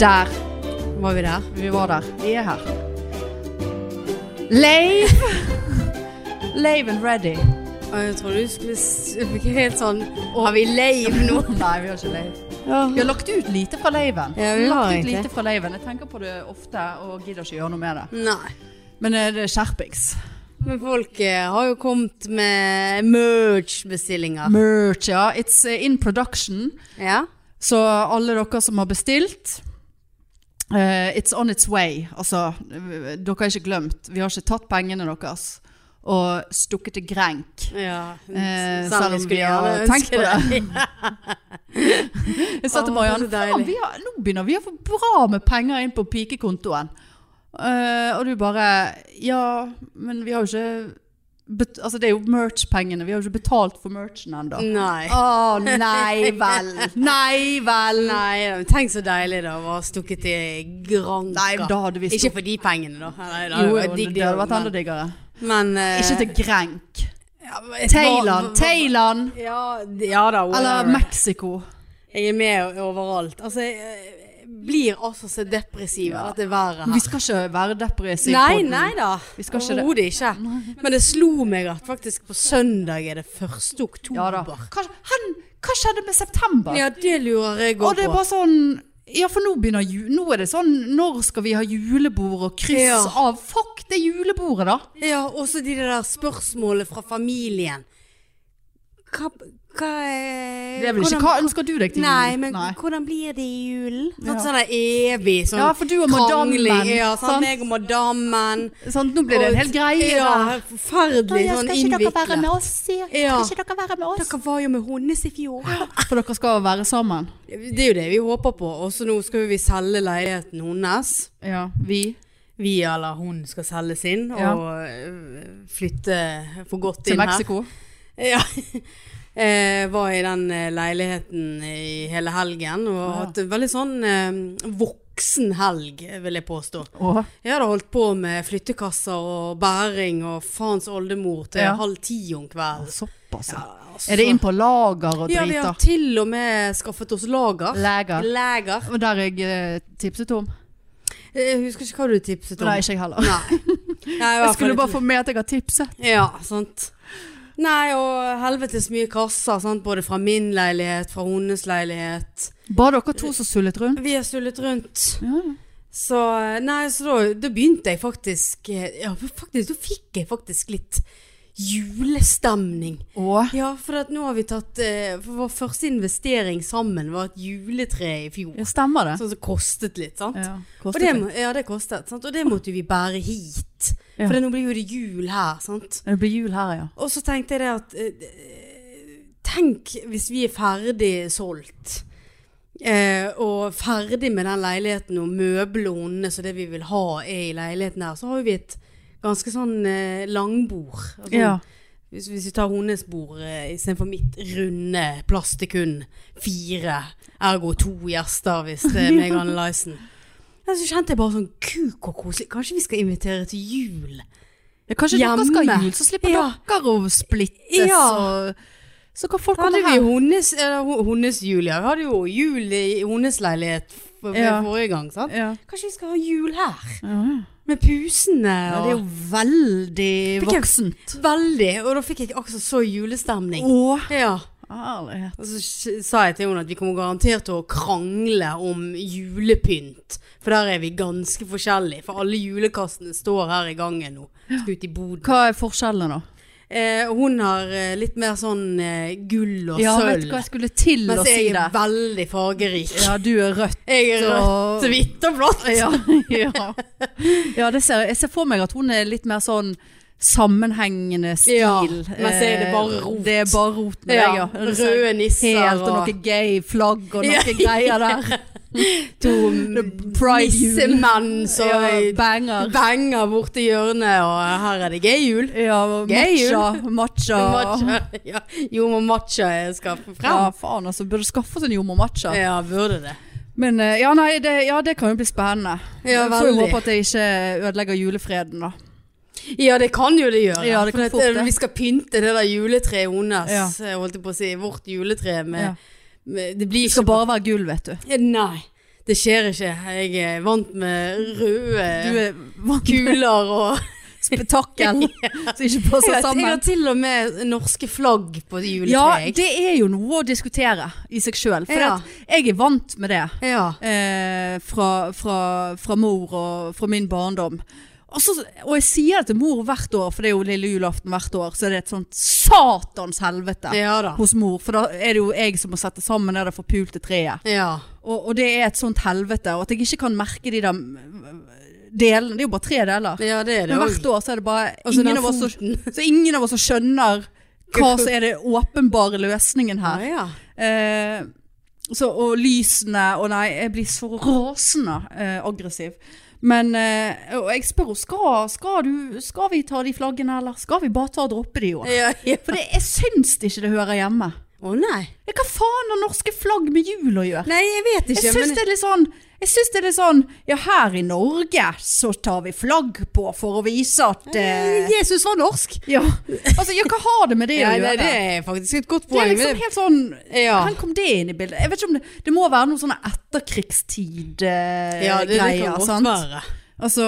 Der var vi der. Vi var der. Vi er her. Lave. Lave and ready. Og jeg trodde du skulle s- fikk helt sånn Har vi lave nå? Nei, vi har ikke lave. Vi har lagt ut lite fra laven. Ja, vi har lagt ut egentlig. lite fra laven. Jeg tenker på det ofte og gidder ikke gjøre noe med det. Nei. Men eh, det er skjerpings. Men folk eh, har jo kommet med merge-bestillinger. Merch, ja. It's eh, in production. Ja. Så alle dere som har bestilt eh, It's on its way. Altså, eh, dere er ikke glemt. Vi har ikke tatt pengene deres og stukket til grenk. ja. Eh, Selv selv om om vi skulle vi har gjerne tenkt ønske på det. Jeg sa til Å, Marianne så deilig. faen, vi har, nå begynner vi å få bra med penger inn på pikekontoen. Eh, og du bare Ja, men vi har jo ikke bet Altså, det er jo merch-pengene. Vi har jo ikke betalt for merchen ennå. Nei. Å, nei vel. Nei vel. Nei, da, men tenk så deilig det var stukket i granka. Nei, da hadde vi Ikke for de pengene, da. Nei, det hadde Jo, vært jo, digg, det hadde vært men- enda diggere. Men eh, Ikke til Grenk. ja, men et Thailand, hva- Thailand Ja, d- ja da. eller whatever. Mexico. Jeg er med overalt. Altså, jeg eh, blir altså så depressiv av dette været her. Vi skal ikke være depressive. Nei, nei da. Vi skal ikke det. Overhodet ikke. Men det slo meg at faktisk på søndag er det 1. oktober. Ja da. Hva, hen, hva skjedde med september? Ja, det lurer jeg og òg det er på. bare sånn Ja, for nå begynner ju, Nå er det sånn Når skal vi ha julebord og kryss Ja. av? Fuck det julebordet, da! Ja, også de der spørsmålene fra familien. Hva, hva er Det er vel ikke Hva ønsker du deg til jul? Eh, Nei, men hvordan blir det i julen? Sånn Ja. sånn der evig sånn Ja, for du og madammen, krangling. Ja, sant? sånn meg og madammen. Sånn, nå blir det en hel greie. da. Ja, forferdelig sånn innviklet. oss, sier Ja. Skal dere være med Dere var jo med hennes i fjor. For dere skal være sammen. Det er jo det vi håper på. Og så nå skal jo vi selge leiligheten hennes. Ja, vi. Vi eller hun skal selge sin Ja. og øh, flytte for godt Til inn Mexico. her. Ja. Eh, var i den eh, leiligheten i hele helgen og Ja. hatt en veldig sånn eh, voksen helg, vil jeg påstå. Åh. Jeg hadde holdt på med flyttekasser og bæring og faens oldemor til Ja. halv ti om kvelden. Såpass, ja. Altså, Er det inn på lager og Ja, vi har driter? til og med skaffet oss lager. Leger. Lager. Og der jeg eh, tipset om. Jeg husker ikke hva du tipset om. Nei, ikke jeg heller. Nei. Nei, i hvert Jeg skulle fall bare ikke- få med at jeg har tipset. Ja, sant. Nei, og helvetes mye kasser, sant? både fra min leilighet, fra hennes leilighet. Bare dere to som sullet rundt. Vi er sullet rundt. Ja, ja. Så nei, så da, da begynte jeg faktisk eh, Ja, faktisk, da fikk jeg faktisk litt julestemning. Og Ja, for at nå har vi tatt eh, For vår første investering sammen var et juletre i fjor. ja, stemmer det. Sånn som kostet litt, sant. Ja, Og kostet det, det. må- ja, det kostet. Sant? Og det måtte vi bære hit. Ja. For det- nå blir jo det jul her, sant. Men Det blir jul her, ja. Og så tenkte jeg det at eh, Tenk hvis vi er ferdig solgt. Eh, og ferdig med den leiligheten og møblene så det vi vil ha er i leiligheten her, så har jo vi et ganske sånn eh, langbord. Altså, hvis, hvis vi tar hennes bord eh, istedenfor mitt runde plastikun. Fire, ergo to gjester hvis det er meg og Anne Lysen. Ja, Så kjente jeg bare sånn kuk og koselig. Kanskje vi skal invitere til jul? Ja, Kanskje dere skal ha Hjemme. jul, så slipper Ja. dere å splittes. Ja. Og, så kan folk Hadde komme vi her. hennes, eller ho- hennes jul, ja. Vi hadde jo jul i hennes leilighet f- for, Ja. forrige gang, sant? Ja. Kanskje vi skal ha jul her? Ja. Med pusene Ja, og det er jo veldig Fikk jeg- voksent. Veldig. Og da fikk jeg akkurat så julestemning. Åh. Ja. Ærlighet. Og så s- sa jeg til henne at vi kommer garantert til å krangle om julepynt. For der er vi ganske forskjellige. For alle julekassene står her i gangen nå. Skal ut i boden. Hva er forskjellene, da? Eh, hun har eh, litt mer sånn eh, gull og Ja, vet du sølv. hva jeg skulle til å Mens si jeg det? er veldig fargerik. Ja, du er rødt. Jeg er og- rødt, hvitt og blått. Ja, ja. ja det ser, jeg ser for meg at hun er litt mer sånn sammenhengende stil. Ja, mens jeg er det bare Eh, rot. Det er bare rot med Ja, deg, ja. Det ser røde nisser Helt og og- noe gay flagg og noe Ja. greier der. To Pride jul. nissemenn som Ja, banger. banger borti hjørnet, og her er det gay jul. Ja, Gay jul. matcha. matcha. Matcha. Ja, jo, må matcha jeg skal få Ja, frem. faen altså. Burde skaffe oss en jordmor matcha. Ja, burde det. Men eh, ja, nei, det, ja, det kan jo bli spennende. Ja, Får jo veldig. håpe at det ikke ødelegger julefreden, da. Ja, det kan jo det gjøre. Ja, det For kan at, fort det. eh, Vi skal pynte det der juletreet hennes, Ja. eh, holdt jeg på å si. Vårt juletre med, Ja. med Det blir Det skal ikke bare være gull, vet du. Nei. Det skjer ikke. Jeg er vant med Du røde er vant med kuler og spetakkel som ikke passer Jeg har sammen. til og med norske flagg på Ja, juletreet. det er jo noe å diskutere i seg sjøl. For Ja. at jeg er vant med det ja. eh, fra, fra, fra mor og fra min barndom. Og, så, og jeg sier det til mor hvert år, for det er jo lille julaften hvert år, så er det et sånt satans helvete Ja da. hos mor. For da er det jo jeg som må sette sammen det der forpulte treet. Ja. Og, og det er et sånt helvete. Og at jeg ikke kan merke de der delene. Det er jo bare tre deler. ja, det er det Men òg. hvert år så er det bare Og så den ingen av oss, foten. som- så ingen av oss som skjønner hva som er det åpenbare løsningen Ja, her. ja. Eh, så, og lysene Og nei, jeg blir så rasende eh, aggressiv. Men eh, Og jeg spør henne skal, skal, du- skal vi ta de flaggene, eller skal vi bare ta og droppe de i år? ja, ja. For det, jeg syns det ikke det hører hjemme. Å nei. Ja, Hva faen har norske flagg med jul å gjøre? Nei, jeg vet ikke. Jeg syns det er litt sånn jeg synes det er litt sånn, ja her i Norge så tar vi flagg på for å vise at eh, Jesus var norsk. ja. Altså, ja, hva har det med det Ja, å nei, gjøre? det er faktisk et godt det er poeng. liksom men helt sånn det- Ja. Hvordan kom det inn i bildet? Jeg vet ikke om Det, det må være noen sånne etterkrigstid-greier. Ja, det, det kan godt sant? være. Altså,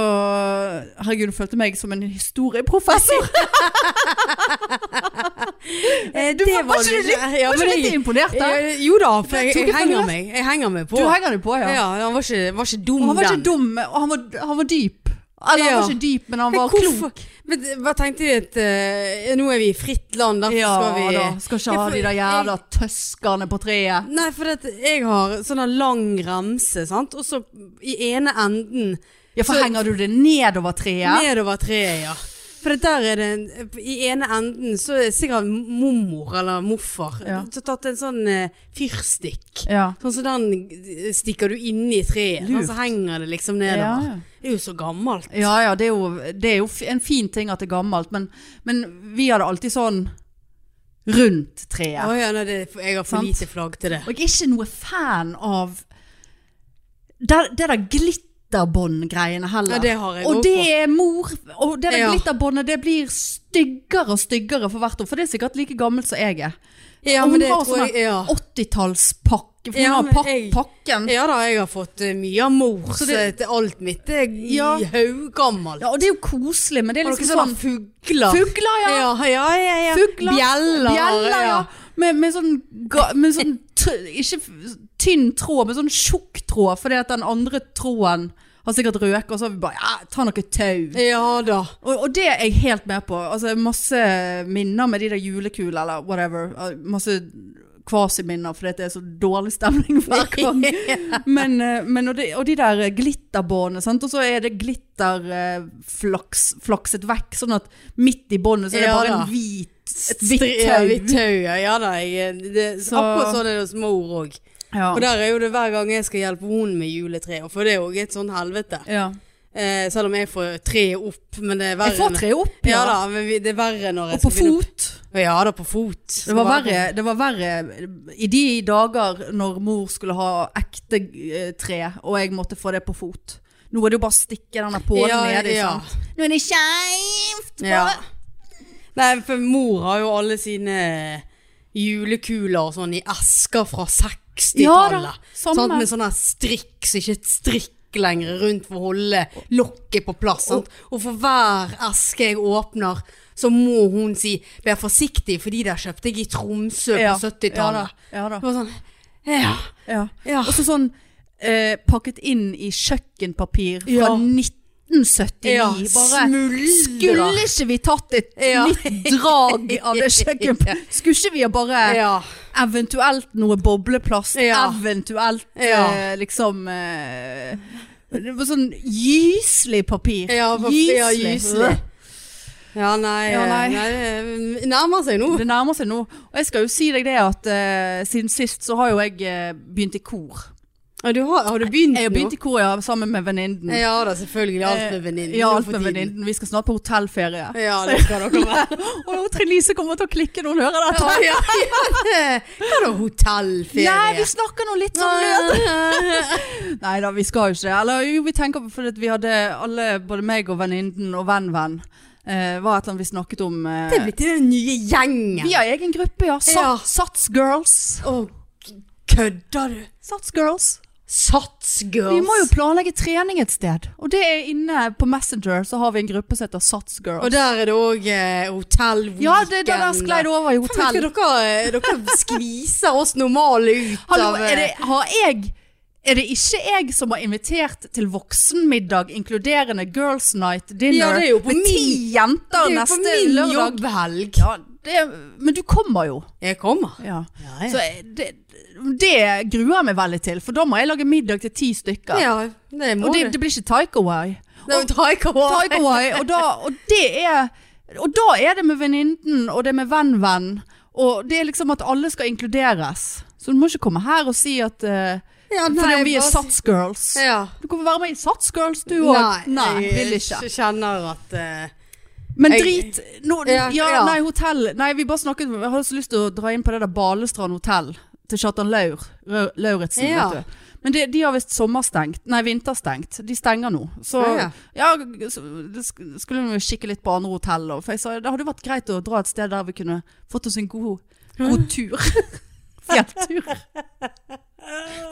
herregud, du følte meg som en historieprofessor. Eh, Du, var, var ikke du litt, ja, var men ikke litt jeg- imponert der? Eh, Jo da, for jeg, Tok jeg ikke henger på meg. Jeg henger meg på. Du henger deg på, ja. ja, han var ikke, var ikke dum, Og Han var den. ikke dum, og han var, han var dyp. Eller han Ja. var ikke dyp, men han Men var klok. hvorfor- Men hva tenkte de at eh, Nå er vi i fritt land, derfor Ja skal vi da, skal ikke Ja, ha for de der jævla tøskerne på treet. Nei, for at jeg har sånn en lang remse, sant? Og så i ene enden Ja, for Så- henger du det nedover treet? nedover treet, ja. For det der er det en- I ene enden så er sikkert mormor eller morfar Ja. Så tatt en sånn eh, fyrstikk. Ja. Sånn som den stikker du inn i treet, sånn, så Lurt. henger det liksom Ja, nedover. ja. Det er jo så gammelt. ja, ja det, er jo, det er jo f- en fin ting at det er gammelt, men, men vi hadde alltid sånn rundt Å treet. ja, nei, det, er for- jeg har for Sant. lite flagg til det. Og jeg er ikke noe fan av det, det der glitterbånd-greiene heller. Ja, det har jeg og også det er mor Og det der Ja. glitterbåndet det blir styggere og styggere for hvert år. For det er sikkert like gammelt som jeg er. Ja, og hun men det har tror sånn jeg ja. 80-tallspakke. For hun Ja, har men pak jeg- pakken. ja da, jeg har fått eh, mye av mor Så så det- til alt mitt. Det er Ja. haugammelt. Ja, og det er jo koselig, men det er Har dere liksom sånne sånn fugler? Fugler, ja. Ja, ja, ja, ja. Fugler. Bjeller. Bjeller, ja. Med, med sånn, ga- med sånn t ikke f- tynn tråd, men sånn tjukk tråd. Fordi at den andre tråden har sikkert røket, og så har vi bare ja, ta noe tau. Ja da. Og, og det er jeg helt med på. Altså, masse minner med de der julekuler eller whatever. Masse kvasiminner, fordi at det er så dårlig stemning hver gang. Men, eh, men og, de, og de der glitterbåndene, sant? og så er det glitterflaks flakset vekk, sånn at midt i båndet så er det Ja bare da. en hvit, et Stri- hvitt Ja, tau. hvitt tau, ja. ja da. Jeg, eh, det, Så- Akkurat sånn er det hos mor òg. Ja. Og der er jo det hver gang jeg skal hjelpe henne med juletreet, for det er jo et sånn helvete. ja. Eh, selv om jeg får treet opp, men det er verre. Jeg får enn- tre opp, Ja ja. da, men vi- det er verre når jeg og på begynne- fot. Ja da, på fot. Det var, verre, det var verre i de dager når mor skulle ha ekte eh, tre, og jeg måtte få det på fot. Nå er det jo bare å stikke den der pålen Ja, nedi. ja. sant? Nå er det skeivt! Ja. Nei, for mor har jo alle sine julekuler og sånn i esker fra Ja da, 60-tallet. samme. sant? Med sånn her strikk, så ikke et strikk lenger rundt for å holde lokket på plass. Sant? Og for hver eske jeg åpner, så må hun si 'vær forsiktig', for de der kjøpte jeg i Tromsø Ja, på 70-tallet. Ja da. Det var sånn Ja. Ja. ja. Og så sånn eh, pakket inn i kjøkkenpapir fra Ja. 1979. Ja, Bare smuldra. Skulle ikke vi tatt et Ja. nytt drag av det kjøkkenpapiret? Skulle ikke vi ha bare Ja. Eventuelt noe bobleplast. Ja. Eventuelt Ja. eh, liksom eh, det var Sånn gyselig papir. Ja, for- ja, gyselig. Ja, nei, Ja, nei. nei det Nærmer seg nå. Det nærmer seg nå. Og jeg skal jo si deg det at eh, siden sist så har jo jeg eh, begynt i kor. Ja, du har, har du begynt Jeg har begynt i nå? kor ja, sammen med venninnen. Ja da, selvfølgelig. Alt med venninnen. Eh, Ja, alt for med tiden. venninnen. Vi skal snart på hotellferie. Ja, det skal dere være. Og Trine Lise kommer til å klikke når hun hører dette. Ja, ja, ja. Hva da, hotellferie? Nei, vi snakker nå litt sånn løst. Nei da, vi skal jo ikke det. Eller jo, vi tenker på fordi at vi hadde alle, både meg og venninnen og venn-venn, eh, var et eller annet vi snakket om. Eh, Det er blitt i den nye gjengen. vi har egen gruppe, ja. Sat, Ja. Sats Girls. Å, kødder du? Sats Girls. Sats girls. Vi må jo planlegge trening et sted. Og det er inne på Messenger, så har vi en gruppe som heter Sats Girls. Og der er det òg eh, hotell weekend. ja, det, det der sklei det eh, over i Faen, hotell. vet ikke dere, dere skviser oss normale ut Hallo, av eh, er det, har jeg er det ikke jeg som har invitert til voksenmiddag, inkluderende girls night Ja, dinner, det er jo på med ti min- jenter det er jo på neste min lørdag? jobbhelg. Ja, det, men du kommer jo. Jeg kommer. Ja. Ja, Så eh, det, det gruer jeg meg veldig til, for da må jeg lage middag til ti stykker. ja det må og det, du. det blir ikke takeaway. Det er jo takeaway. Takeaway, og, da- og det er Og da er det med venninnen, og det er med venn-venn. Og det er liksom at alle skal inkluderes. Så du må ikke komme her og si at eh, Ja, Fordi nei, om vi er bare- Sats-girls. Ja. Du kan være med i Sats-girls du òg. jeg vil ikke. kjenner at eh, Men Jeg- drit nå, ja, Ja, ja. Nei, hotell Nei, vi bare snakket Jeg hadde så lyst til å dra inn på det der Balestrand hotell Til Kjartan Laur Rau- Lauritsen, Ja. vet du men de, de har vist sommerstengt, nei vinterstengt De stenger nå Så ja, Ja, så, det sk- skulle vi kikke litt på andre hotell og- For jeg sa, det hadde vært greit å dra et sted der vi kunne Fått oss en god, god tur Fjelltur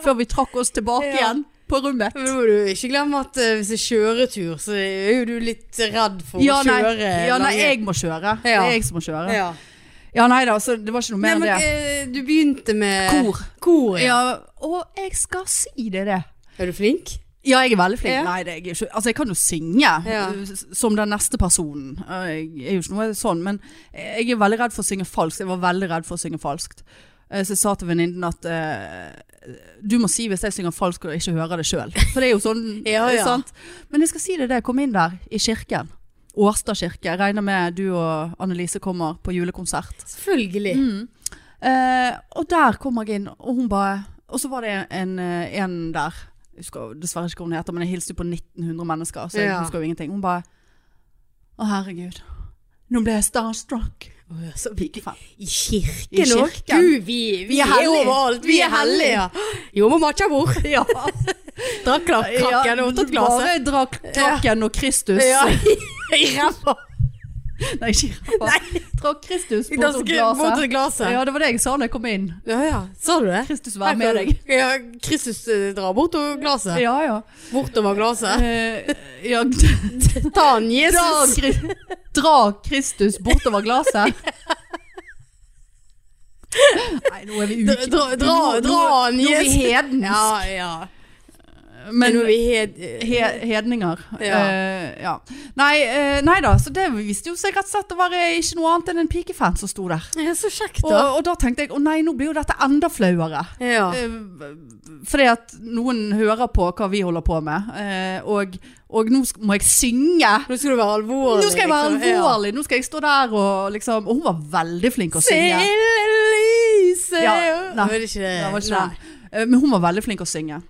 Før vi trakk oss tilbake Ja. igjen På rommet Men må du ikke glemme at eh, hvis det er kjøretur, så er jo du litt redd for ja å nei, kjøre. ja, nei, lange- jeg må kjøre Det Ja. er jeg som må kjøre Ja, ja. nei da, så det var ikke noe Nei, mer enn men, det eh, du begynte med Kor. Kor, ja. Ja, og jeg skal si det, det. Er du flink? Ja, jeg er veldig flink. Ja. Nei, det er jeg ikke. Altså, jeg kan jo synge Ja. uh, s- som den neste personen. Uh, Jeg er jo ikke noe sånn, men jeg er veldig redd for å synge falskt. Jeg var veldig redd for å synge falskt. Uh, Så jeg sa til venninnen at uh, du må si hvis jeg synger falskt og ikke hører det sjøl. For det er jo sånn. Ja, ja. Sant? Men jeg skal si det, det. Jeg kom inn der, i kirken. Årstad kirke. Jeg regner med du og Annelise kommer på julekonsert. Selvfølgelig. Eh, og der kom jeg inn, og hun bare Og så var det en, eh, en der Jeg husker dessverre ikke hva hun heter, men jeg hilste jo på 1900 mennesker, så jeg Ja. husker jo ingenting. Hun bare Å, herregud. Nå ble jeg starstruck. Å, ja, så vi- Pikefan. I I kirken òg? kirken. Gud, vi, vi er er, hellige. overalt. Vi er hellige. ja. Jo, må matcha bord. Ja. Drakk klakk, krakken og tatt glasset. Bare dra k- krakken og Kristus. Ja. I ræva. Nei, ikke Nei. Dra Kristus Da mot skal jeg Mot glasset. det glasset. Ja, det var det jeg sa da jeg kom inn. Ja, ja. Sa du det? Kristus være med deg. Ja, Kristus eh, drar bort og glasset. Ja, ja. Bortover glasset. Eh, ja. Ta Dra, han, Jesus. Kri- dra Kristus bortover glaset. Nei, nå er vi Dra, ute. dra, dra, Nå- dra han, Nå er vi Jesus. hedens. Ja, ja. Men Nå er vi hed... he, hedninger. Ja. Eh, ja. Nei, eh, nei da, så det viste jo seg rett og slett å være ikke noe annet enn en pikefan som sto der. Ja, så kjekt, Og, da. og da tenkte jeg å nei, nå blir jo dette enda flauere. Ja. Eh, Fordi at noen hører på hva vi holder på med, eh, og, og nå sk- må jeg synge. Nå skal du være alvorlig. Nå skal jeg være liksom. Ja. alvorlig, nå skal jeg stå der og liksom Og hun var veldig flink å synge. lyset Ja, nei. Var det ikke det? Det var ikke Nei. den. Eh, Men hun var veldig flink å synge.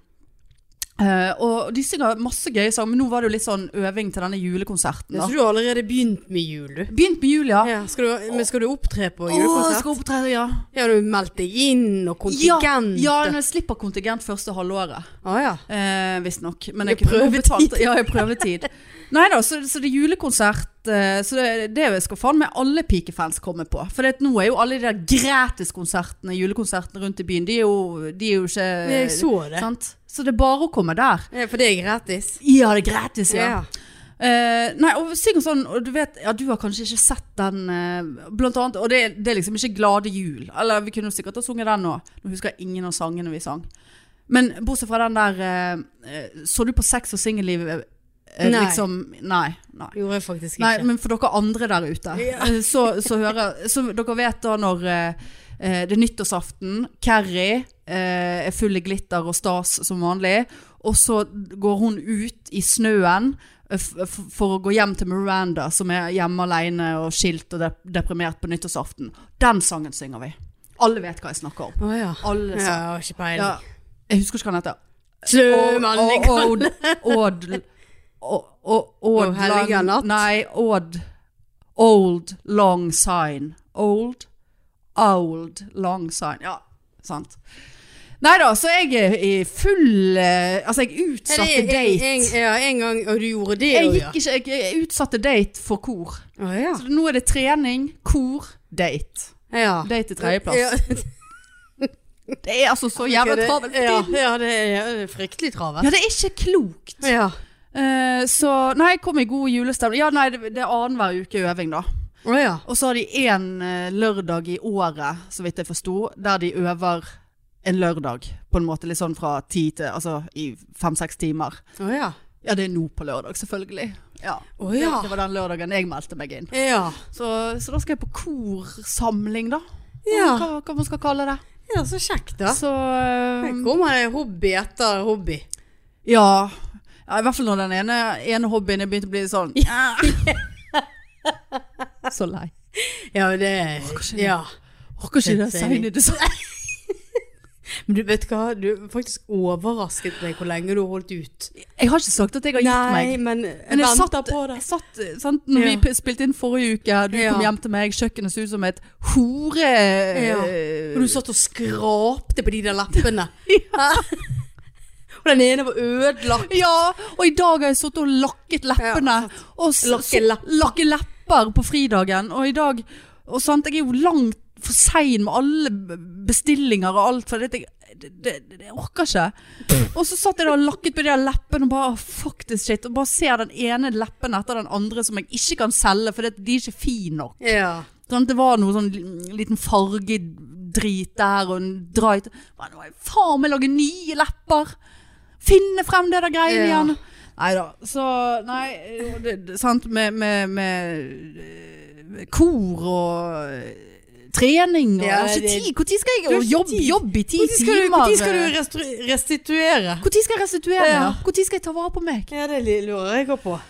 Eh, og de synger masse gøye sanger, men nå var det jo litt sånn øving til denne julekonserten. Ja, Da. Så du har allerede begynt med jul, du? Begynt med jul, ja. Ja, skal du, men skal du opptre Å, på julekonsert? skal opptre, ja. Ja, du meldte deg inn, og Ja, kontingent. ja, når jeg slipper kontingent første halvåret. Å, ja. Eh, Visstnok. Men Det jeg er kunne prøvetid. betalt- Ja, jeg er prøvetid. Nei da, så, så det er julekonsert. eh, Så det, det skal faen meg alle pikefans komme på. For det, at nå er jo alle de der gratiskonsertene, julekonsertene rundt i byen, de er jo, de er jo ikke Jeg så det. sant? Så det er bare å komme der. Eh, Ja, For det er gratis. Ja, det er gratis, ja. Ja. Eh, nei, og synger sånn, og du vet, ja, du har kanskje ikke sett den, eh, blant annet, og det, er- det er liksom ikke Glade jul, eller vi kunne jo sikkert ha sunget den nå, nå husker jeg ingen av sangene vi sang. Men bortsett fra den der, eh, eh, så du på sex og singelliv, eh, Nei. liksom, nei, nei. Gjorde jeg faktisk ikke. Nei, men for dere andre der ute, Ja. eh, så, så hører, så dere vet da når eh, eh, det er nyttårsaften, Carrie eh, er full i glitter og stas som vanlig, og så går hun ut i snøen eh, f- f- for å gå hjem til Miranda, som er hjemme alene og skilt og dep deprimert på nyttårsaften. Den sangen synger vi. Alle vet hva jeg snakker om. Å ja. Alle Ja, sang. jeg har ikke peiling. Ja. Jeg husker ikke hva den heter. Snømann i Åd- kan. Åd Å- å- Åd helga lang- natt. Nei, Åd Old long sign Old Old long sign Ja, sant Neida, så jeg er i full eh, Altså, jeg Ja, utsatte det er en- date en- Ja, en gang, og du gjorde det Jeg òg, ja. gikk ikke, jeg, jeg utsatte date for kor Å ja. Så nå er det trening, kor, date ja. Date i tredjeplass Ja. Det er altså så jævla Det- travelt for Ja, tiden. ja, det er fryktelig travelt. Ja, det er ikke klokt. Ja. Eh, så Nei, jeg kom i god julestemning. Ja, nei, det, det er annenhver uke øving, da. Å ja. Og så har de én lørdag i året, så vidt jeg forsto, der de øver en lørdag. På en måte litt sånn fra ti til Altså i fem-seks timer. Å ja. Ja, det er nå på lørdag, selvfølgelig. Ja. Å ja. Det, det var den lørdagen jeg meldte meg inn. Ja. Så, så da skal jeg på korsamling, da. Ja. Hva, hva man skal kalle det. ja, så kjekt da. Så Her eh, kommer det hobby etter hobby. ja. ja. I hvert fall når den ene, ene hobbyen er begynt å bli sånn Så lei. Ja, det kanskje- ja. Orker ikke det Helt enig. seine design. Men du vet hva, du har faktisk overrasket meg hvor lenge du har holdt ut. Jeg har ikke sagt at jeg har gitt meg. men jeg Men jeg venter satt, på det. jeg satt eh, sant, Når Ja. vi p- spilte inn forrige uke, du Ja. kom hjem til meg, kjøkkenet så ut som et hore... eh, Ja. Og du satt og skrapte på de der leppene. og den ene var ødelagt. Ja, og i dag har jeg sittet og lakket leppene. og s- Lakke så- lepper. lakke lepper på fridagen. Og i dag og sant, Jeg er jo langt for sein med alle b- bestillinger og alt. For det, det, det, det, jeg orker ikke. Og så satt jeg da og lakket på de der leppene og bare «Åh, fuck this shit. Og bare ser den ene leppen etter den andre som jeg ikke kan selge, for det, de er ikke fine nok. Ja. Sånn, det var noe sånn li- liten fargedrit der og en dra i Men nå må jeg faen meg lage nye lepper! Finne frem det der greiene Ja. igjen! Nei da. Så Nei, eh, det, det, sant med, med, med eh, kor og eh, trening og Ja, altså, det- ti, Hvor tid skal jeg Du har og ikke jobb, tid. jobb i ti Når skal, du- timer? hvor tid skal du restru- restituere? Hvor tid skal jeg restituere? Ja. Ja. Når skal jeg ta vare på meg? Ja, det lurer jeg også på.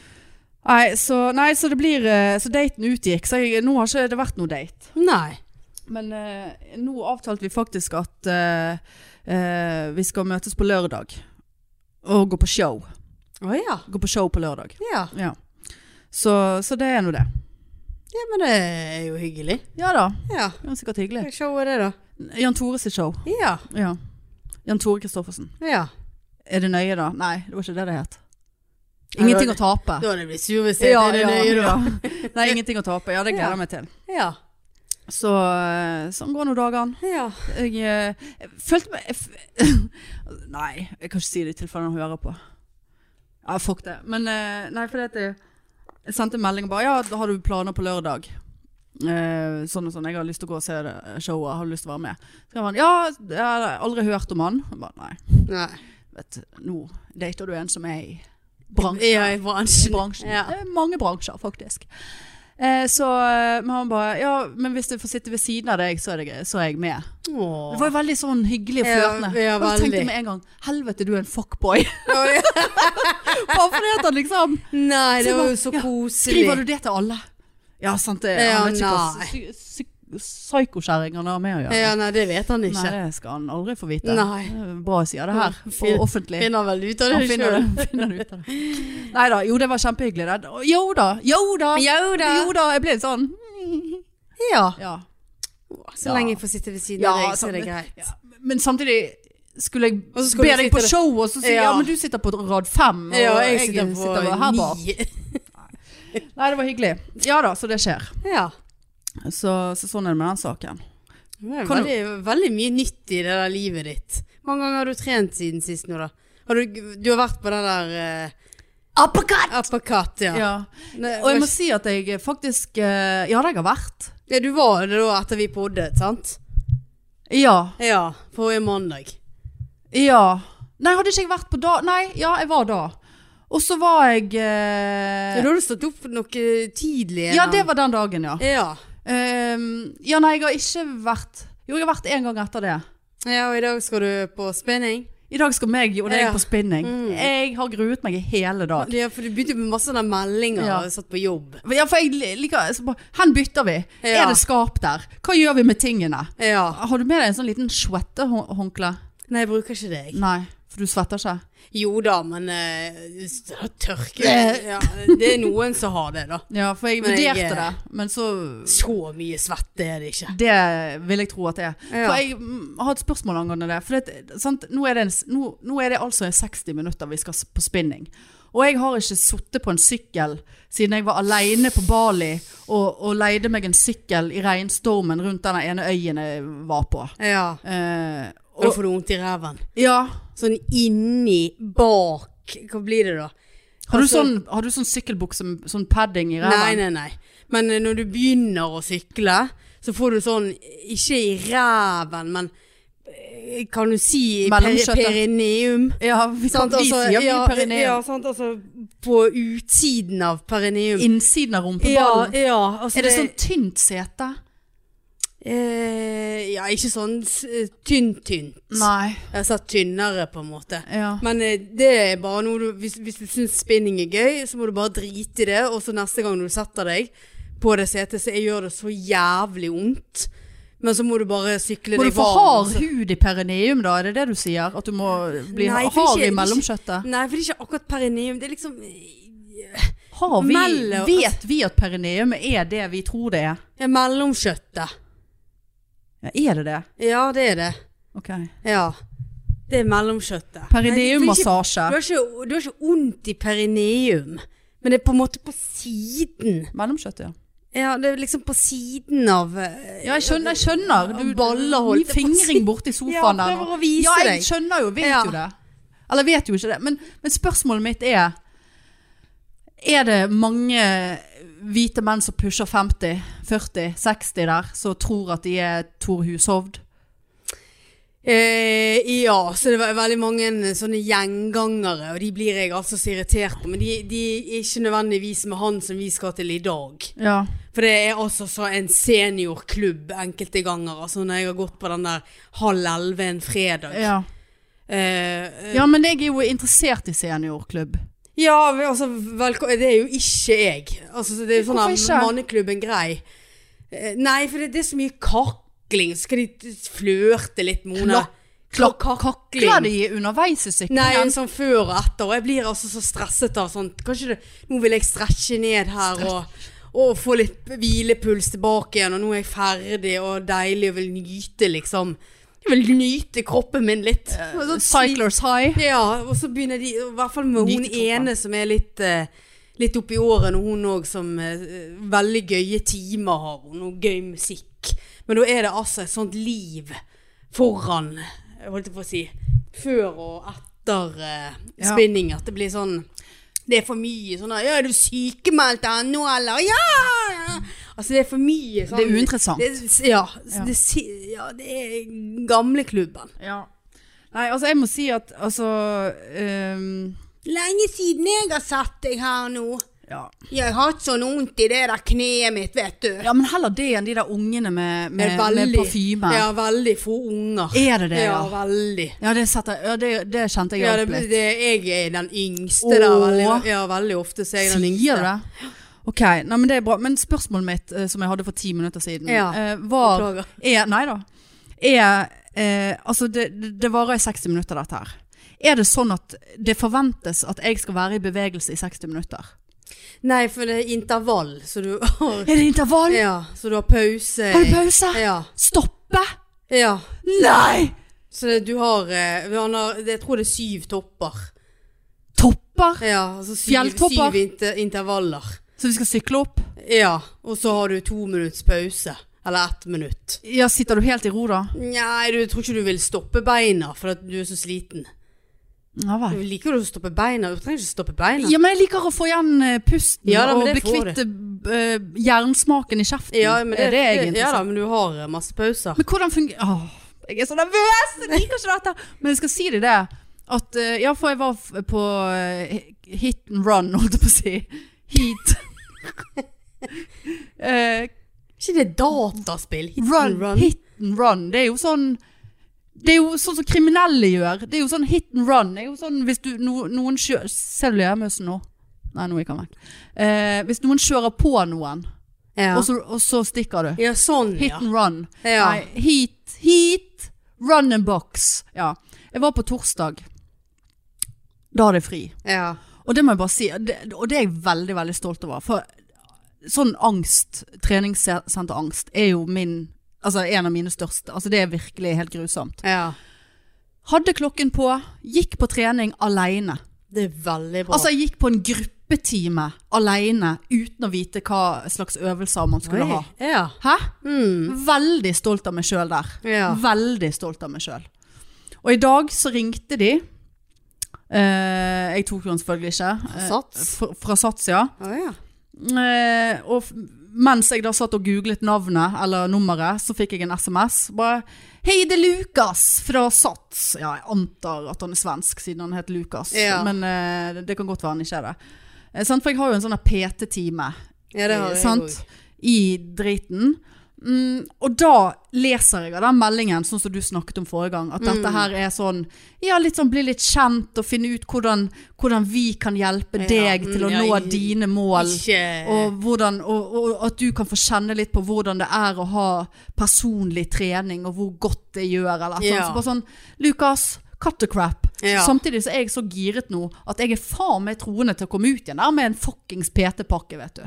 Nei, så, nei, så det blir eh, Så daten utgikk, så jeg, nå har ikke det vært noe date. Nei. Men eh, nå avtalte vi faktisk at eh, eh, vi skal møtes på lørdag. Og gå på show. Å ja. Gå på show på lørdag. ja. Ja. Så, så det er nå det. Ja, men det er jo hyggelig. Ja da. Ja. Det er sikkert hyggelig. Hva show er det, da? Jan Tore sitt show. Ja. Ja. Jan Tore Christoffersen. ja. Er det nøye, da? Nei, det var ikke det det het. Nei, Ingenting å det tape. Da hadde jeg blitt sur hvis jeg Ja, ikke ja, hadde nøye, da. ja. Nei, ingenting å tape. Ja, det gleder Ja. jeg meg til. Ja. Så eh, sånn går nå dagene. ja. Jeg, eh, jeg følte meg jeg, f- Nei, jeg kan ikke si det i tilfelle han hører på. Ja, fuck det. Men eh, nei, fordi at jeg, jeg sendte en melding og bare Ja, har du planer på lørdag? Eh, sånn og sånn. Jeg har lyst til å gå og se det showet. Har du lyst til å være med? Så kan man, ja, jeg har aldri hørt om han. Jeg bare, nei, Nei. vet du, nå dater du en som er i bransjen. Ja, i I bransjen. bransjen. Ja. Det er mange bransjer, faktisk. Eh, så eh, men han bare Ja, men hvis jeg får sitte ved siden av deg, så er, det, gøy, så er jeg med. Åh. Det var jo veldig sånn hyggelig og Ja, flørtende. ja, og så tenkte veldig. jeg med en gang Helvete, du er en fuckboy. Å, ja. Bare fordi at han liksom Nei, det Så var bare, jo så ja, koselig. Skriver du det til alle? Ja, sant det. Ja, han vet ikke nei. hva psy- psy- psykokjerring han har med å gjøre. Ja, nei, det vet han Nei, ikke. det skal han aldri få vite. Nei. Det er Bra jeg sier det her, Fin- og offentlig. Finner vel ut av Han det finner sjøl. det, finner det ut av det. Nei da, jo det var kjempehyggelig. Det. Og Jo da, jo da, Jo jo da. Jeg ble litt sånn Ja. Ja. Så Ja. lenge jeg får sitte ved siden Ja, av deg, så sant. er det greit. Ja, Men samtidig skulle jeg Og så skulle be du deg sitte på der. show, og så sier jeg ja. Ja. men du sitter på rad fem, og Ja, jeg, sitter, bare her bak. ni. Nei, det var hyggelig. Ja da, så det skjer. Ja. Så, så sånn er det med den saken. Det er Kan veldig, veldig mye nytt i det der livet ditt. Hvor mange ganger har du trent siden sist nå, da? Har du, du har vært på den der uh, Uppercut! Uppercut, ja. Ja. Nei, Og jeg må si at jeg faktisk eh, Ja, det har jeg vært. ja. Du var det da etter vi poddet, sant? Ja. Ja. Forrige mandag. Ja. Nei, hadde ikke jeg vært på da Nei, ja, jeg var da. Og så var jeg eh, Ja, da har du stått opp noe tidlig. Ja, det var den dagen, ja. Ja. Ehm, ja, nei, jeg har ikke vært Jo, jeg har vært en gang etter det. ja, og i dag skal du på spinning. I dag skal meg og deg Ja. på spinning. Mm. Jeg har gruet meg i hele dag. Ja, for du begynte med masse sånne meldinger Ja. og satt på jobb. Ja, for jeg liker så bare, Hen bytter vi. Ja. Er det skap der? Hva gjør vi med tingene? Ja. Har du med deg en sånn liten svettehåndkle? Nei, jeg bruker ikke det. jeg. Nei, for du svetter ikke. Jo da, men uh, tørke Eh. ja, Det er noen som har det, da. Ja, for jeg Men jeg- vurderte det, men så Så mye svette er det ikke. Det vil jeg tro at det er. Ja. For jeg mm, har et spørsmål angående det. For det, sant? Nå, er det en, s- nå, nå er det altså 60 minutter vi skal s- på spinning. Og jeg har ikke sittet på en sykkel siden jeg var aleine på Bali og, og leide meg en sykkel i regnstormen rundt den ene øyen jeg var på. Ja. Eh, Da Og- får du vondt i ræven. Ja. Sånn inni, bak Hva blir det da? Har du Altså- sånn, har du sånn sykkelbukse med sånn padding i Nei, ræven? nei, nei. Men eh, når du begynner å sykle, så får du sånn Ikke i ræven, men eh, kan du si per Mellomkjøttet. perineum? Ja, vi, kan, Sant, vi altså, sier mye ja, perineum. Ja, sant, altså på utsiden av perineum. Innsiden av rumpeballen. ja, ja, altså er det sånn tynt sete? eh, Ja, ikke sånn s- tynt-tynt. Nei. Jeg har sett tynnere, på en måte. Ja. Men eh, det er bare noe du hvis, hvis du syns spinning er gøy, så må du bare drite i det. Og så neste gang du setter deg på det setet, så gjør det så jævlig vondt. Men så må du bare sykle Må du deg få varm, hard altså. hud i perineum, da? Er det det du sier? At du må bli Nei, for hard ikke- i ikke- mellomkjøttet? Nei, for det er ikke akkurat perineum. Det er liksom eh, Har vi, Mellom- vet vi at perineum er det vi tror det er? ja, mellomkjøttet. Ja, er det det? Ja, det er det. Ok. Ja. Det er mellomkjøttet. Nei, for det er ikke- Du Perineummassasje. har ikke, du har ikke vondt i perineum, men det er på en måte på siden. Mellomkjøttet, ja. Ja, det er liksom på siden av eh, Ja, jeg skjønner. Jeg skjønner. Du Baller holdt mye jeg på å si. fingring borti sofaen Ja, der. prøver nå. å vise ja, jeg deg. skjønner jo. Vet Ja. jo det. Eller jeg vet jo ikke det. Men, men spørsmålet mitt er Er det mange hvite menn som pusher 50, 40, 60 der, som tror at de er Tor Hushovd? Eh, ja, så det er veldig mange sånne gjengangere, og de blir jeg altså så irritert på. Men de, de er ikke nødvendigvis med han som vi skal til i dag. Ja. For det er altså så en seniorklubb enkelte ganger. Altså når jeg har gått på den der halv elleve en fredag. Ja. Eh, ja, men jeg er jo interessert i seniorklubb. ja, men altså velko- Det er jo ikke jeg. Altså, det er jo sånn Hvorfor her ikke? manneklubben grei. Eh, nei, for det, det er så mye kakling. Så skal de t- flørte litt med henne. Klak- Kak- Kakler de underveis i Altså, Nei, syklingen? sånn før og etter. Og jeg blir altså så stresset av sånt. Kanskje det, nå vil jeg stretche ned her og, og få litt hvilepuls tilbake igjen. Og nå er jeg ferdig og deilig og vil nyte, liksom. Jeg vil nyte kroppen min litt. Eh, sånn Og så- Cyclers High? Ja, og så begynner de, i hvert fall med hun Nyte kroppen. ene som er litt eh, Litt oppi årene, og hun òg som eh, Veldig gøye timer har hun, og gøy musikk. Men da er det altså et sånt liv foran, jeg holdt jeg på å si, før og etter eh, Ja. spinning. At det blir sånn Det er for mye sånn der, 'Ja, er du sykemeldt ennå, eller?' Ja! Altså, det er for mye sånn Det er uinteressant. det- ja, Ja. Det, si- ja, det er gamleklubben. Ja. Nei, altså jeg må si at altså ehm, Lenge siden jeg har sett deg her nå. ja. Jeg har hatt sånn vondt i det der kneet mitt, vet du. ja, men heller det enn de der ungene med, Eh, med, med parfyme. Ja, veldig få unger. Er det det, ja? ja? veldig. Ja, det, setter, ja, det, det kjente jeg Ja, det, hjalp litt. det, jeg er den yngste Åh. der veldig, ja, veldig ofte. Så er jeg den yngste. Sier du det? Ok, nei, men det er bra. Men spørsmålet mitt, eh, som jeg hadde for ti minutter siden, Ja, eh, var Beklager. er, Nei da. Er eh, Altså, det, det det varer i 60 minutter, dette her. Er det sånn at det forventes at jeg skal være i bevegelse i 60 minutter? Nei, for det er intervall, så du har Er det intervall? Ja, så du har pause. Har du pause? Ja. Stoppe? ja. Nei! Så det, du har, eh, han har Jeg tror det er syv topper. Topper? Ja, altså syv, Fjelltopper? Syv inter intervaller. Så vi skal sykle opp? Ja. Og så har du to minutts pause. Eller ett minutt. Ja, sitter du helt i ro da? Nei, du jeg tror ikke du vil stoppe beina, for at du er så sliten. Ja Du vel. liker jo å stoppe beina, du trenger ikke stoppe beina. Ja, men jeg liker å få igjen eh, pusten Ja da, og men det bli får kvitt eh, jernsmaken i kjeften. er det jeg er Ja da, interessert i? men du har eh, masse pauser. Men hvordan fungerer Åh, jeg er så nervøs! Jeg liker ikke dette! Men jeg skal si deg det. At, eh, ja, for jeg var f- på eh, hit and run, holdt jeg på å si. Heat. Eh, Ikke det dataspill? Hit and run, Hit and run. Det er jo sånn det er jo sånn som kriminelle gjør. Det er jo sånn hit and run. Det er jo sånn hvis du, no, noen kjører Ser du lermusen nå? Nei, nå gikk han vekk. Eh, hvis noen kjører på noen, Ja. og, så, og så stikker du. ja, sånn, Hit ja. and run. ja. Nei, heat, heat, run and box. Ja. Jeg var på torsdag. Da hadde jeg fri. ja. Og det må jeg bare si, det, og det er jeg veldig, veldig stolt over. For sånn angst, treningssenterangst, er jo min Altså en av mine største. Altså det er virkelig helt grusomt. ja. Hadde klokken på, gikk på trening aleine. Det er veldig bra. Altså jeg gikk på en gruppetime aleine uten å vite hva slags øvelser man skulle ha. Ja. Hæ? Mm. Veldig stolt av meg sjøl der. Ja. Veldig stolt av meg sjøl. Og i dag så ringte de. Eh, jeg tok jo den selvfølgelig ikke. Eh, Sats? fra, fra Sats, ja. Å ja. Eh, og f- mens jeg da satt og googlet navnet eller nummeret, så fikk jeg en SMS. Bare 'Hei, det er Lukas fra Sats'. Ja, jeg antar at han er svensk siden han heter Lukas. Ja. Men eh, det- det kan godt være han ikke er det. Eh, sant? For jeg har jo en sånn her PT-time ja, det har jeg Eh, sant? òg. i driten. Mm, og da leser jeg av den meldingen, sånn som du snakket om forrige gang, at Mm. dette her er sånn Ja, litt sånn bli litt kjent og finne ut hvordan, hvordan vi kan hjelpe Ja, deg mm, til å ja, nå i- dine mål. Ikke Og, hvordan, og, og at du kan få kjenne litt på hvordan det er å ha personlig trening, og hvor godt det gjør, eller et eller annet. Ja. Så bare sånn, Lukas, cut the crap. Ja. Samtidig så er jeg så giret nå at jeg er faen meg troende til å komme ut igjen der med en fuckings PT-pakke, vet du.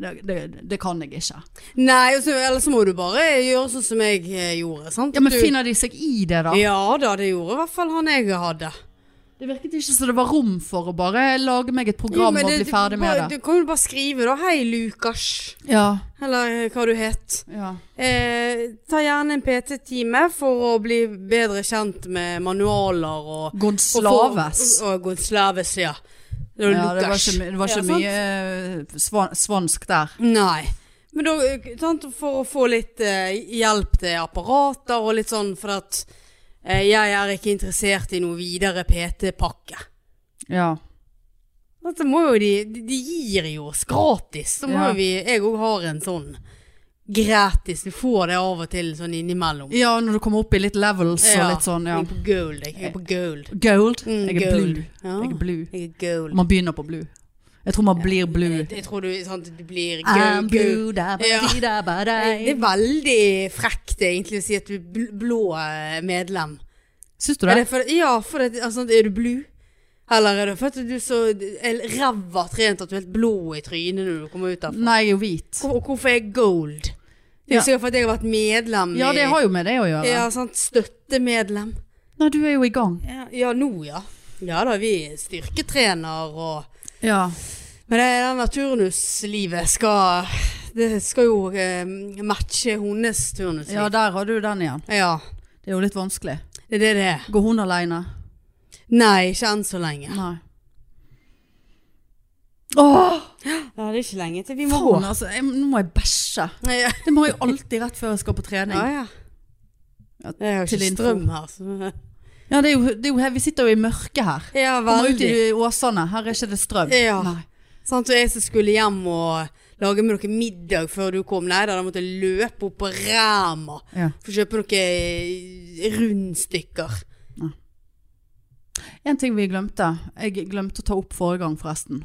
Det, det, det kan jeg ikke. Nei, og så- ellers må du bare gjøre sånn som jeg eh, gjorde, sant? Ja, Men du, finner de seg i det, da? Ja da, det gjorde i hvert fall han jeg hadde. Det virket ikke som det var rom for å bare lage meg et program men og bli ferdig med Du, det. bare- du kan jo bare skrive da 'Hei, Lukas', Ja, eller eh, hva du het. ja. Eh, ta gjerne en PT-time for å bli bedre kjent med manualer og og få- Gonslaves. Og, og Gonslaves, ja. Det var Ja, det var Lukas. ikke, my- det var Ja, ikke sant? mye eh, svan- svansk der. Nei. Men da, eh, sant, for å få litt eh, hjelp til apparater og litt sånn, for at eh, jeg er ikke interessert i noe videre PT-pakke. Ja. Dette må jo de, de- de gir jo oss gratis. Så må Ja. jo vi, jeg òg har en sånn gratis. Du får det av og til sånn innimellom. Ja, når du kommer opp i litt levels og litt sånn, ja. Jeg er på gold. Jeg jeg er på gold. Gold. Mm, jeg er gold. blue. Ja. Jeg er blue. Jeg er gold. Man begynner på blue. Jeg tror man blir blue. Jeg, jeg tror du, sant, du blir Mm. I'm gold. gold. blue, da, ba, Ja. di, da, ba, Det dei. er veldig frekt egentlig å si at du er bl- blå eh, medlem. Syns du Er det? det for, ja, for det, altså, er du blue? Eller er det for at du er så er ræva trent at du er helt blå i trynet når du kommer ut derfra? Nei, jeg er jo hvit. Hvor, hvorfor er jeg gold? Det er Ja. jo sikkert fordi jeg har vært medlem Ja, det har jo med det å i ja, gjøre. sant? Støttemedlem. Nei, du er jo i gang. Ja, ja, nå ja. Ja da, vi er styrketrener og Ja. Men det er denne turnuslivet skal Det skal jo eh, matche hennes turnusliv. ja, der har du den igjen. ja. Det er jo litt vanskelig. Det er det det er. Går hun aleine? Nei, ikke enn så lenge. Nei. Åh! Ja, det er ikke lenge til vi Faen, altså. Jeg, nå må jeg bæsje. Ja, Det må jeg alltid rett før jeg skal på trening. ja. Ja, Jeg har til ikke info. strøm her. Så. Ja, det er jo, det er jo her, Vi sitter jo i mørket her. Ja, Kommer ut veldig. i Åsane, her er ikke det strøm. Ja. Nei. Sant, og jeg som skulle hjem og lage med noe middag før du kom. Nei da, da måtte jeg løpe opp på Ræma Ja. for å kjøpe noen rundstykker. En ting vi glemte, jeg glemte å ta opp forrige gang forresten,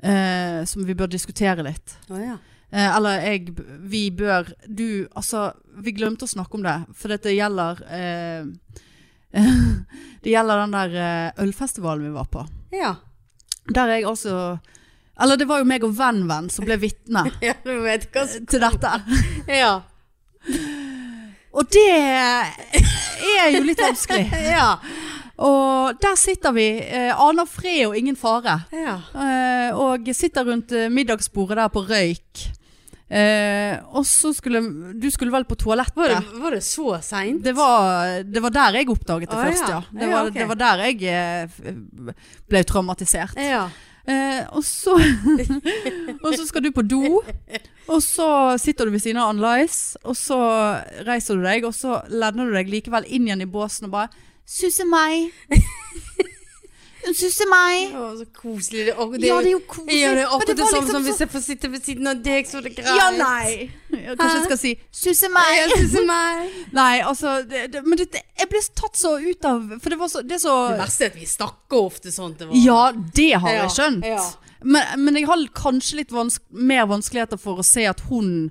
eh, som vi bør diskutere litt. Å ja. Eh, eller jeg, b- vi bør, du, altså, vi glemte å snakke om det, for dette gjelder, eh, det gjelder den der eh, ølfestivalen vi var på. Ja. Der jeg altså, eller det var jo meg og venn-venn som ble vittne ja, du vet hva som til dette. Ja. Og det er jo litt vanskelig. Ja. Og der sitter vi, eh, aner fred og ingen fare. ja. Eh, og sitter rundt eh, middagsbordet der på røyk. Eh, og så skulle Du skulle vel på Var, toalettet? det, var det så seint? Det var, det var der jeg oppdaget det Å, først, ja. ja. Det Ja, var, ok. det var der jeg eh, f- ble traumatisert. Ja. Eh, og, så, og så skal du på do, og så sitter du ved siden av Ann-Lice, og så reiser du deg, og så lender du deg likevel inn igjen i båsen og bare Susse meg! Hun susser meg! Å, så koselig. Det, og det, Ja, det er jo koselig. Ja, det er Men akkurat det, var samme liksom som så- hvis jeg får sitte ved siden av deg, så er det greit. Ja, nei. Kanskje jeg skal si 'susse Jeg meg'. synes meg. Nei, altså det, det, Men det, det- jeg ble tatt så ut av For det var så, det er Det så verste er at vi snakker ofte sånn til hverandre. Ja, det har Ja, jeg skjønt. ja. Men, men jeg har kanskje litt vans mer vanskeligheter for å se at hun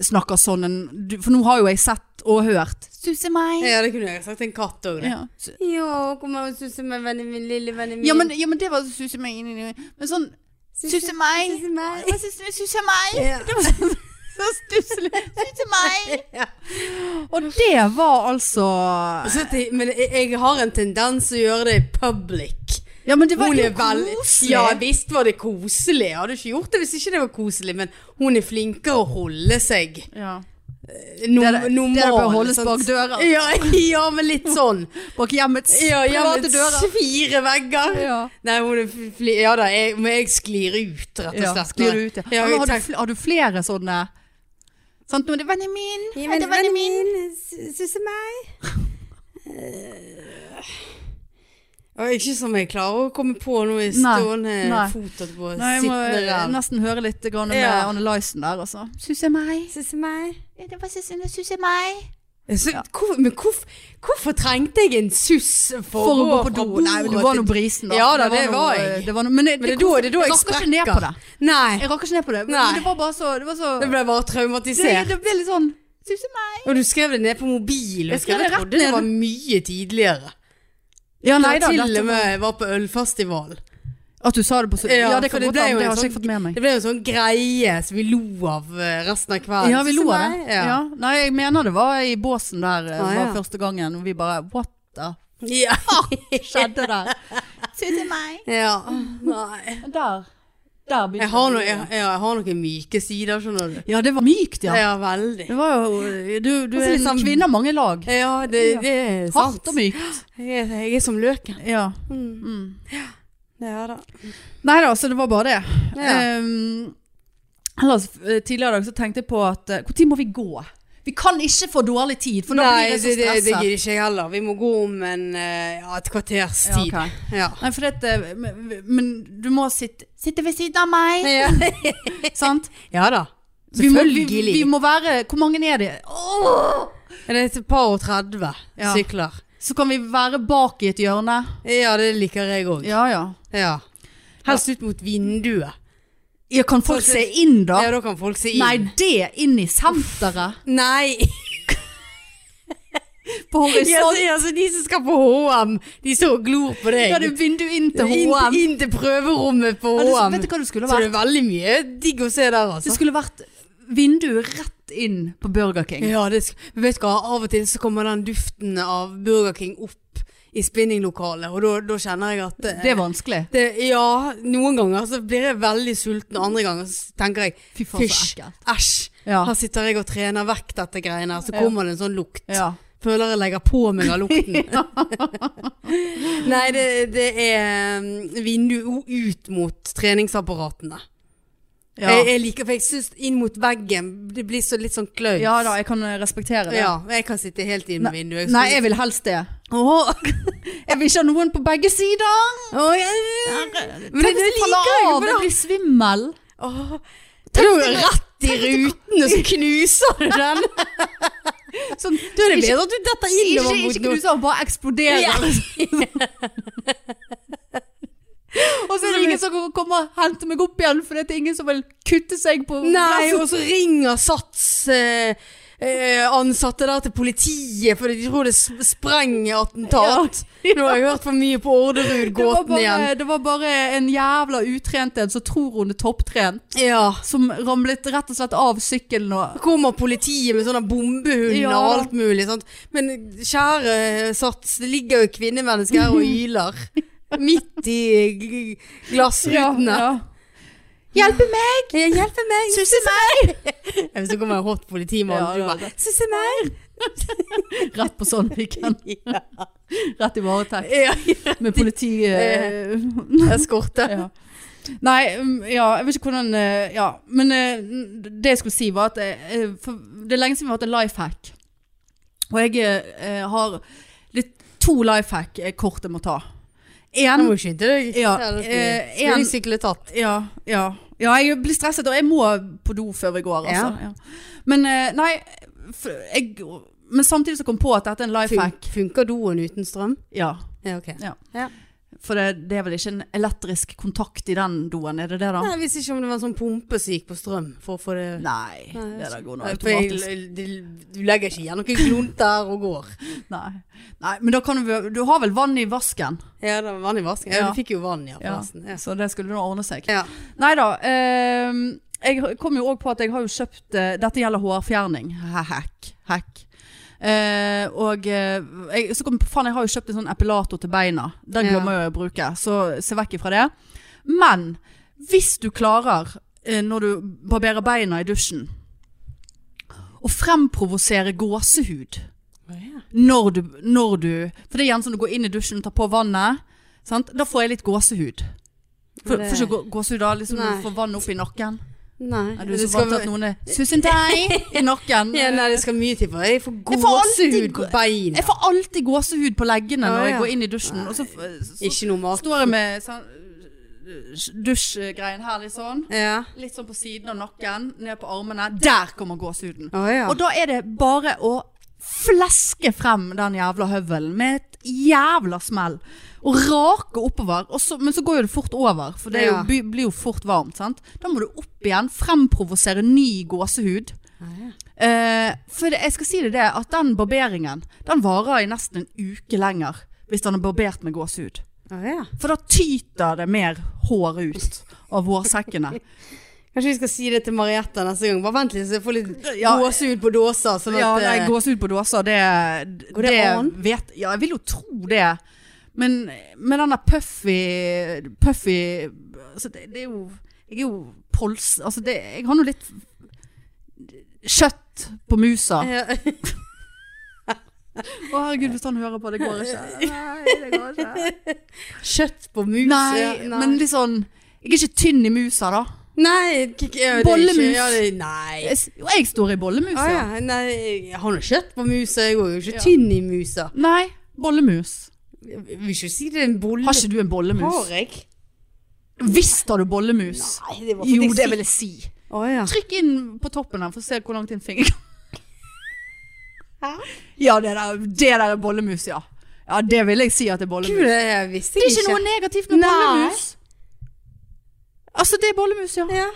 snakker sånn enn du- For nå har jo jeg sett og hørt 'susse meg'. Ja, det kunne jeg sagt til en katt òg. Ja. Jo, kom her og susse meg, vennen min, lille vennen min. Ja, men, ja, men det var 'susse meg' inni Men sånn 'susse meg'. Susse meg. Hva synes du? Susse meg? Ja. Det var så, så stusslig. Susse meg! Ja. Og det var altså Og så at jeg- Men jeg, jeg har en tendens til å gjøre det i public. Ja, men det var Hun jo er vel- koselig. Ja visst var det koselig. Jeg hadde ikke gjort det hvis ikke det var koselig, men hun er flinkere å holde seg Ja. no, Det der- normal. det der bør holdes sant? bak døra. Ja, ja, men litt sånn. Bak hjemmets Ja, private hjemmets dører. fire vegger. Ja. Nei, hun er fli, ja da, jeg, men jeg sklir ut, rett og Ja, slett. sklir ut, ja. Ja, Men har, du, tenk- fl- har du flere sånne Sant, nå er det vennen min, Ja, er men det vennen min. min suser meg. Uh, ikke som jeg klarer å komme på noe i Nei, stående nei. fot etterpå. Nei, jeg må Sittende eh, ræv. nesten høre litt grann med Ja. analysen der, altså. Suser meg. Suser meg. Ja, det var susen, det suser meg. Så, Ja. hvor, men hvorf, hvorfor trengte jeg en suss for, For å gå på do. fra Nei, men du bordet var nå til- brisen, da. Ja da, det noe, var jeg. eh, Det var noe, men det, Men det er da- det er da jeg rakker ikke ned sprekker. på det. Nei, Jeg rakker ikke ned på det. Men Nei. det var bare så Det var så det ble bare det, traumatisert. det ble litt sånn Suser meg. Og du skrev det ned på mobilen. Jeg skrev det rett trodde det ned. var mye tidligere. Ja, Nei, da, til dette og var- med var på ølfestival. At du sa det på så Ja, Ja, det for kan godt være. men det ble jo Det en har ikke jeg sånn- fått med meg. Det ble jo en sånn greie som vi lo av eh, resten av kvelden. Ja, vi lo av det. Ja. Ja. Nei, jeg mener det var i båsen der eh, Ah, ja. var første gangen, og vi bare What the Ja. fuck skjedde der? Suser meg. ja. Nei. Der. Der begynte Jeg har, det. noe, jeg, ja, jeg har noen myke sider, skjønner du. Ja, det var mykt, ja. Ja, veldig. Det var jo Du, du Altså, er en liksom- kvinne av mange lag. Ja, det, det er sant. Hardt og mykt. Jeg, er- jeg er som løken. Ja. Mm. Mm. Ja da. Nei da, så det var bare det. Ja. Ehm, ellers, eh, tidligere i dag så tenkte jeg på at eh, Hvor tid må vi gå? Vi kan ikke få dårlig tid, for da blir jeg så det, det, det stresset. gidder ikke jeg heller. Vi må gå om en, eh, ja, et kvarters Ja, tid. ok. Ja. Nei, for dette men, men du må sitte Sitte ved siden av meg, Ja. sant? ja da. Vi må, vi, Selvfølgelig. vi må være Hvor mange er det? Åh! Det er et par og 30 Ja. sykler. Så kan vi være bak i et hjørne. Ja, det liker jeg òg. Ja ja. Ja. Helst ut mot vinduet. ja kan folk se inn, da? Ja, da kan folk se inn. Nei, det inn i senteret. Nei. På Ja, horisonten. så- ja, så de som skal på H&M, de så og glor på deg. Ja, det er vindu inn til Inn- HM. Inn, til prøverommet på Ja, du- H&M. Vet du hva det skulle Så vært? det er veldig mye digg å se der, Det altså. skulle vært vinduet rett inn på Burger King. Ja, det sk Men vet du hva, av og til så kommer den duften av Burger King opp i spinninglokalet, og da- da kjenner jeg at eh, Det er vanskelig. det, ja, noen ganger så blir jeg veldig sulten, og andre ganger så tenker jeg Fy faen, så Fysj, ekkelt. æsj. Ja. Her sitter jeg og trener vekk dette greiene her, så Ja. kommer det en sånn lukt. Ja. Føler jeg legger på meg av lukten. Nei, det, det er mm, vindu o- ut mot treningsapparatene. Ja. Jeg, jeg liker, for jeg syns inn mot veggen det blir så litt sånn kløy. ja da, jeg kan eh, respektere det. Ja, jeg kan sitte helt inn med vinduet. Nei, jeg vil helst det. Åh, Jeg vil ikke ha noen på begge sider. åh, jeg, Men det, det liker jeg jo. Jeg blir svimmel. Åh, det er jo rett i ruten, og så knuser du den. Sånn, Da er det bedre at du detter Ikke, innover ikke mot noe. knuse og bare eksplodere. Ja. Og så er det ingen som kan komme og hente meg opp igjen, for det er ingen som vil kutte seg på Nei, og så ringer Sats eh, eh, ansatte der til politiet fordi de tror det er sp- sprengattentat. Nå har jeg hørt for mye på Det var, Orderud-gåten igjen. bare, det var bare en jævla utrent en som tror hun er topptrent. Ja. Som ramlet rett og slett av sykkelen og Kommer politiet med sånne bombehunder Ja. og alt mulig. Sant? Men kjære Sats, det ligger jo kvinnemennesker her og yler. Midt i gl- glassrutene. Hjelpe meg! Ja, Hjelp meg! Susse meg! Ja, Hvis det kommer en hot politimann, Ja, du ja, bare Susse meg! Rett på Sandviken. Rett i varetekt Ja, med politi... eh, Eskorte. ja. Nei, um, ja, jeg vet ikke hvordan eh, Ja, men eh, det jeg skulle si var at eh, eh, for Det er lenge siden vi har hatt en life hack. Og jeg eh, har litt, to life hack eh, kort jeg må ta. Nå En må du skynde deg. Ja, det eh, skal vi. Skal en- vi sykle tatt? Ja, ja. ja, jeg blir stresset, og jeg må på do før vi går, altså. Ja. Men eh, nei, f- jeg, men samtidig så kom jeg på at dette er en life hack. Fun funker doen uten strøm? Ja, Ja, ok. Ja. for det, det er vel ikke en elektrisk kontakt i den doen, er det det da? Nei, jeg visste ikke om det var en sånn pumpe som gikk på strøm for å få det Nei, Nei, det der går nå Nei, for jeg- automatisk. det- Du legger ikke igjen noen klont der og går. Nei. nei, men da kan du, du har vel vann i vasken, Ja, det var vann i vasken. Ja, Ja. du fikk jo vann, ja, Ja. forresten. Ja. så det skulle nå ordne seg. Ja. Nei da, ehm, jeg kom jo også på at jeg har jo kjøpt eh, Dette gjelder hårfjerning. Hack. hack. Eh, og eh, jeg, så kom jeg på, faen, jeg har jo kjøpt en sånn epilator til beina. Den Ja. glemmer jeg å bruke, så se vekk ifra det. Men hvis du klarer, eh, når du barberer beina i dusjen, å fremprovosere gåsehud når du, når du For det er gjerne sånn du går inn i dusjen og tar på vannet. Sant? Da får jeg litt gåsehud. For, Det- får ikke gå- gåsehud da? Liksom når Nei. du får vann opp i nakken? Nei. Er du det så skal- vant til at noen er Susan Day i nakken. ja, nei, det skal mye til for Jeg får Jeg får alltid gåsehud på gå- beina. Jeg får alltid gåsehud på leggene Ja, når ja. jeg går inn i dusjen. Og så, så, Ikke noe mat. står jeg med sånn øh, dusjgreien her litt sånn. Ja. Litt sånn på siden av nakken, ned på armene. Der kommer gåsehuden. Å ja. Og da er det bare å fleske frem den jævla høvelen med et jævla smell. Og rake oppover. Og så, men så går jo det fort over, for det er jo, Ja. by- blir jo fort varmt. Sant? Da må du opp igjen, fremprovosere ny gåsehud. Eh, for det, jeg skal si det det, at den barberingen, den varer i nesten en uke lenger hvis den er barbert med gåsehud. Å ja. For da tyter det mer hår ut av hårsekkene. Kanskje vi skal si det til Marietta neste gang. Bare vent litt, så jeg får litt Ja. gåsehud på dåsa. Sånn at Ja, eh, nei, gåsehud på dåser, det Går det an? Vet, ja, jeg vil jo tro det. Men med den der puffy Puffy altså det, det er jo Jeg er jo pols... Altså, det, jeg har nå litt kjøtt på musa. Å, ja. herregud, hvis han hører på, det går ikke. Nei, det går ikke. Kjøtt på mus. Nei, ja, nei. men litt sånn Jeg er ikke tynn i musa, da. Nei, k- k- ja, det er Bollemus. ikke- Ja, det, nei. Jeg, s- jo, jeg står i bollemusa. Ah, ja. nei. Jeg har noe kjøtt på musa. Jeg går jo ikke Ja. tynn i musa. Nei, bollemus. Jeg vil ikke si det er en bolle. Har ikke du en bollemus? Har jeg? Visst har du bollemus. Nei, det var fordi Jo, jeg det fikk- vil jeg si. Å ja. Trykk inn på toppen her, for å se hvor langt din finger Ja, det der, det der er bollemus, ja. Ja, det vil jeg si at det er bollemus. Gud, det jeg visste det jeg er ikke noe negativt med Nei. bollemus. Altså, det er bollemus, ja. Ja.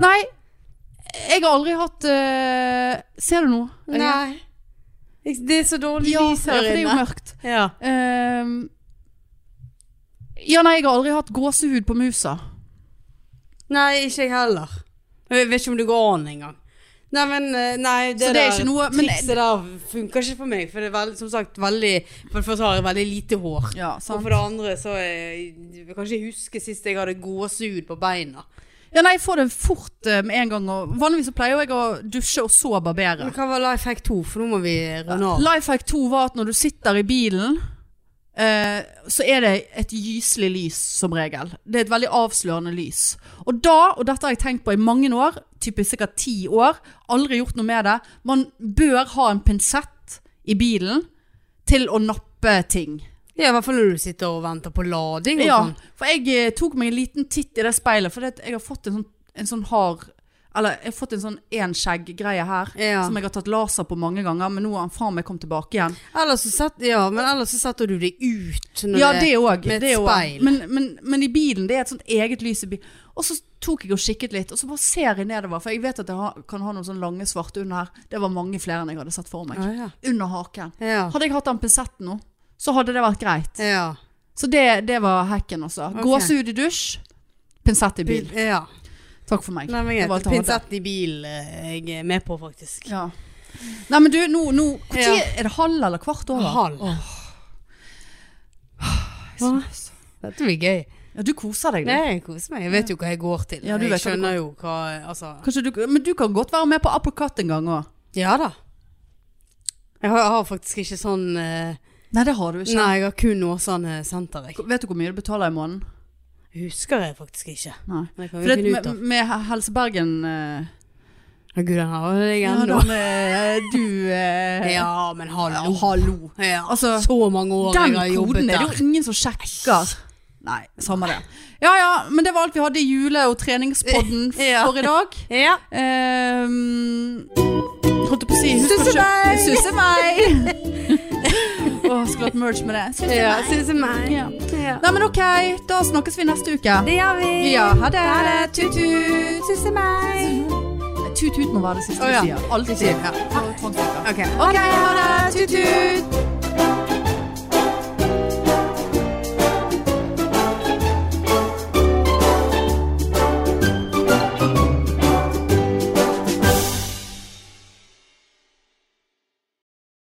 Nei, jeg har aldri hatt eh, Ser du noe? Nei. Jeg- Det er så dårlig Ja, lys for her det er jo inne. mørkt. Ja. Ehm, ja, nei, jeg har aldri hatt gåsehud på musa. Nei, ikke jeg heller. Jeg vet ikke om det går an engang. Nei, men eh, nei, det, Så det er der ikke noe- men- trikset der funker ikke for meg. For det er veld, som sagt veldig For det første har jeg veldig lite hår. Ja, Og sant. for det andre så er jeg kan ikke huske sist jeg hadde gåsehud på beina. Ja, nei, jeg får det fort eh, med en gang. Og vanligvis så pleier jo jeg å dusje og så barbere. Men hva var life hack 2? For nå må vi runde av. Lifehack 2 var at når du sitter i bilen, eh, så er det et gyselig lys som regel. Det er et veldig avslørende lys. Og da, og dette har jeg tenkt på i mange år, typisk sikkert ti år, aldri gjort noe med det, man bør ha en pinsett i bilen til å nappe ting. Ja, i hvert fall når du sitter og venter på lading og Ja, sånn. for jeg eh, tok meg en liten titt i det speilet, for jeg har fått en sånn, en sånn hard Eller jeg har fått en sånn enskjegg-greie her, Ja. som jeg har tatt laser på mange ganger, men nå har han faen meg kommet tilbake igjen. Ellers så, sett, ja, men ellers så setter du deg ut når Ja, det òg. med et speil. Men, men, men i bilen, det er et sånt eget lys i bilen. Og så tok jeg og kikket litt, og så bare ser jeg nedover. For jeg vet at jeg har, kan ha noen sånne lange svarte under her. Det var mange flere enn jeg hadde sett for meg. Ja, ja. Under haken. Ja. Hadde jeg hatt den pinsetten nå, så hadde det vært greit. ja. Så det, det var hacken også. Ok. Gåsehud i dusj, pinsett i bil. Ja. Takk for meg. Nei, men Det var alt jeg greit. hadde. Pinsetten i bilen eh, jeg er med på, faktisk. Ja. Nei, men du, nå, nå hvor tid- Ja. Er det halv eller kvart over? Halv. Åh. Jeg Hva? synes- Dette blir gøy. Ja, du koser deg. du. Nei, jeg koser meg. Jeg vet jo hva jeg går til. Ja, du vet jeg hva du skjønner jo hva Altså. Kanskje du, men du kan godt være med på uppercut en gang òg. Ja da. Jeg har, jeg har faktisk ikke sånn eh, Nei, det har du ikke. Nei, jeg har kun Åsane senter, jeg. Vet du hvor mye du betaler i måneden? Husker jeg faktisk ikke. Nei. Men jeg For kan jo det, finne ut med, av. med Helse Bergen eh, Ja, Gud, den har jeg ja, ennå. da med, Du eh, Ja, men ja, hallo. hallo. Ja, Altså, så mange år Den jeg har jobbet koden er det der. jo ingen som sjekker. Nei, samme det. Ja ja, men det var alt vi hadde i jule- og treningspodden Ja. for i dag. Ja. Ehm, holdt jeg på å si husk å Susse kjø- meg! Susse meg! Åh, skulle hatt merch med det. Susse Ja, meg. synes jeg meg. Ja. Ja. Nei, men ok, da snakkes vi neste uke. Det gjør vi. Ja, ha det. Tut-tut. Synes jeg meg. Tut-tut må være det siste Å, ja. vi sier. Alltid. Ja. Ja. Ok. Ok, ha det. Tut-tut. Tut-tut.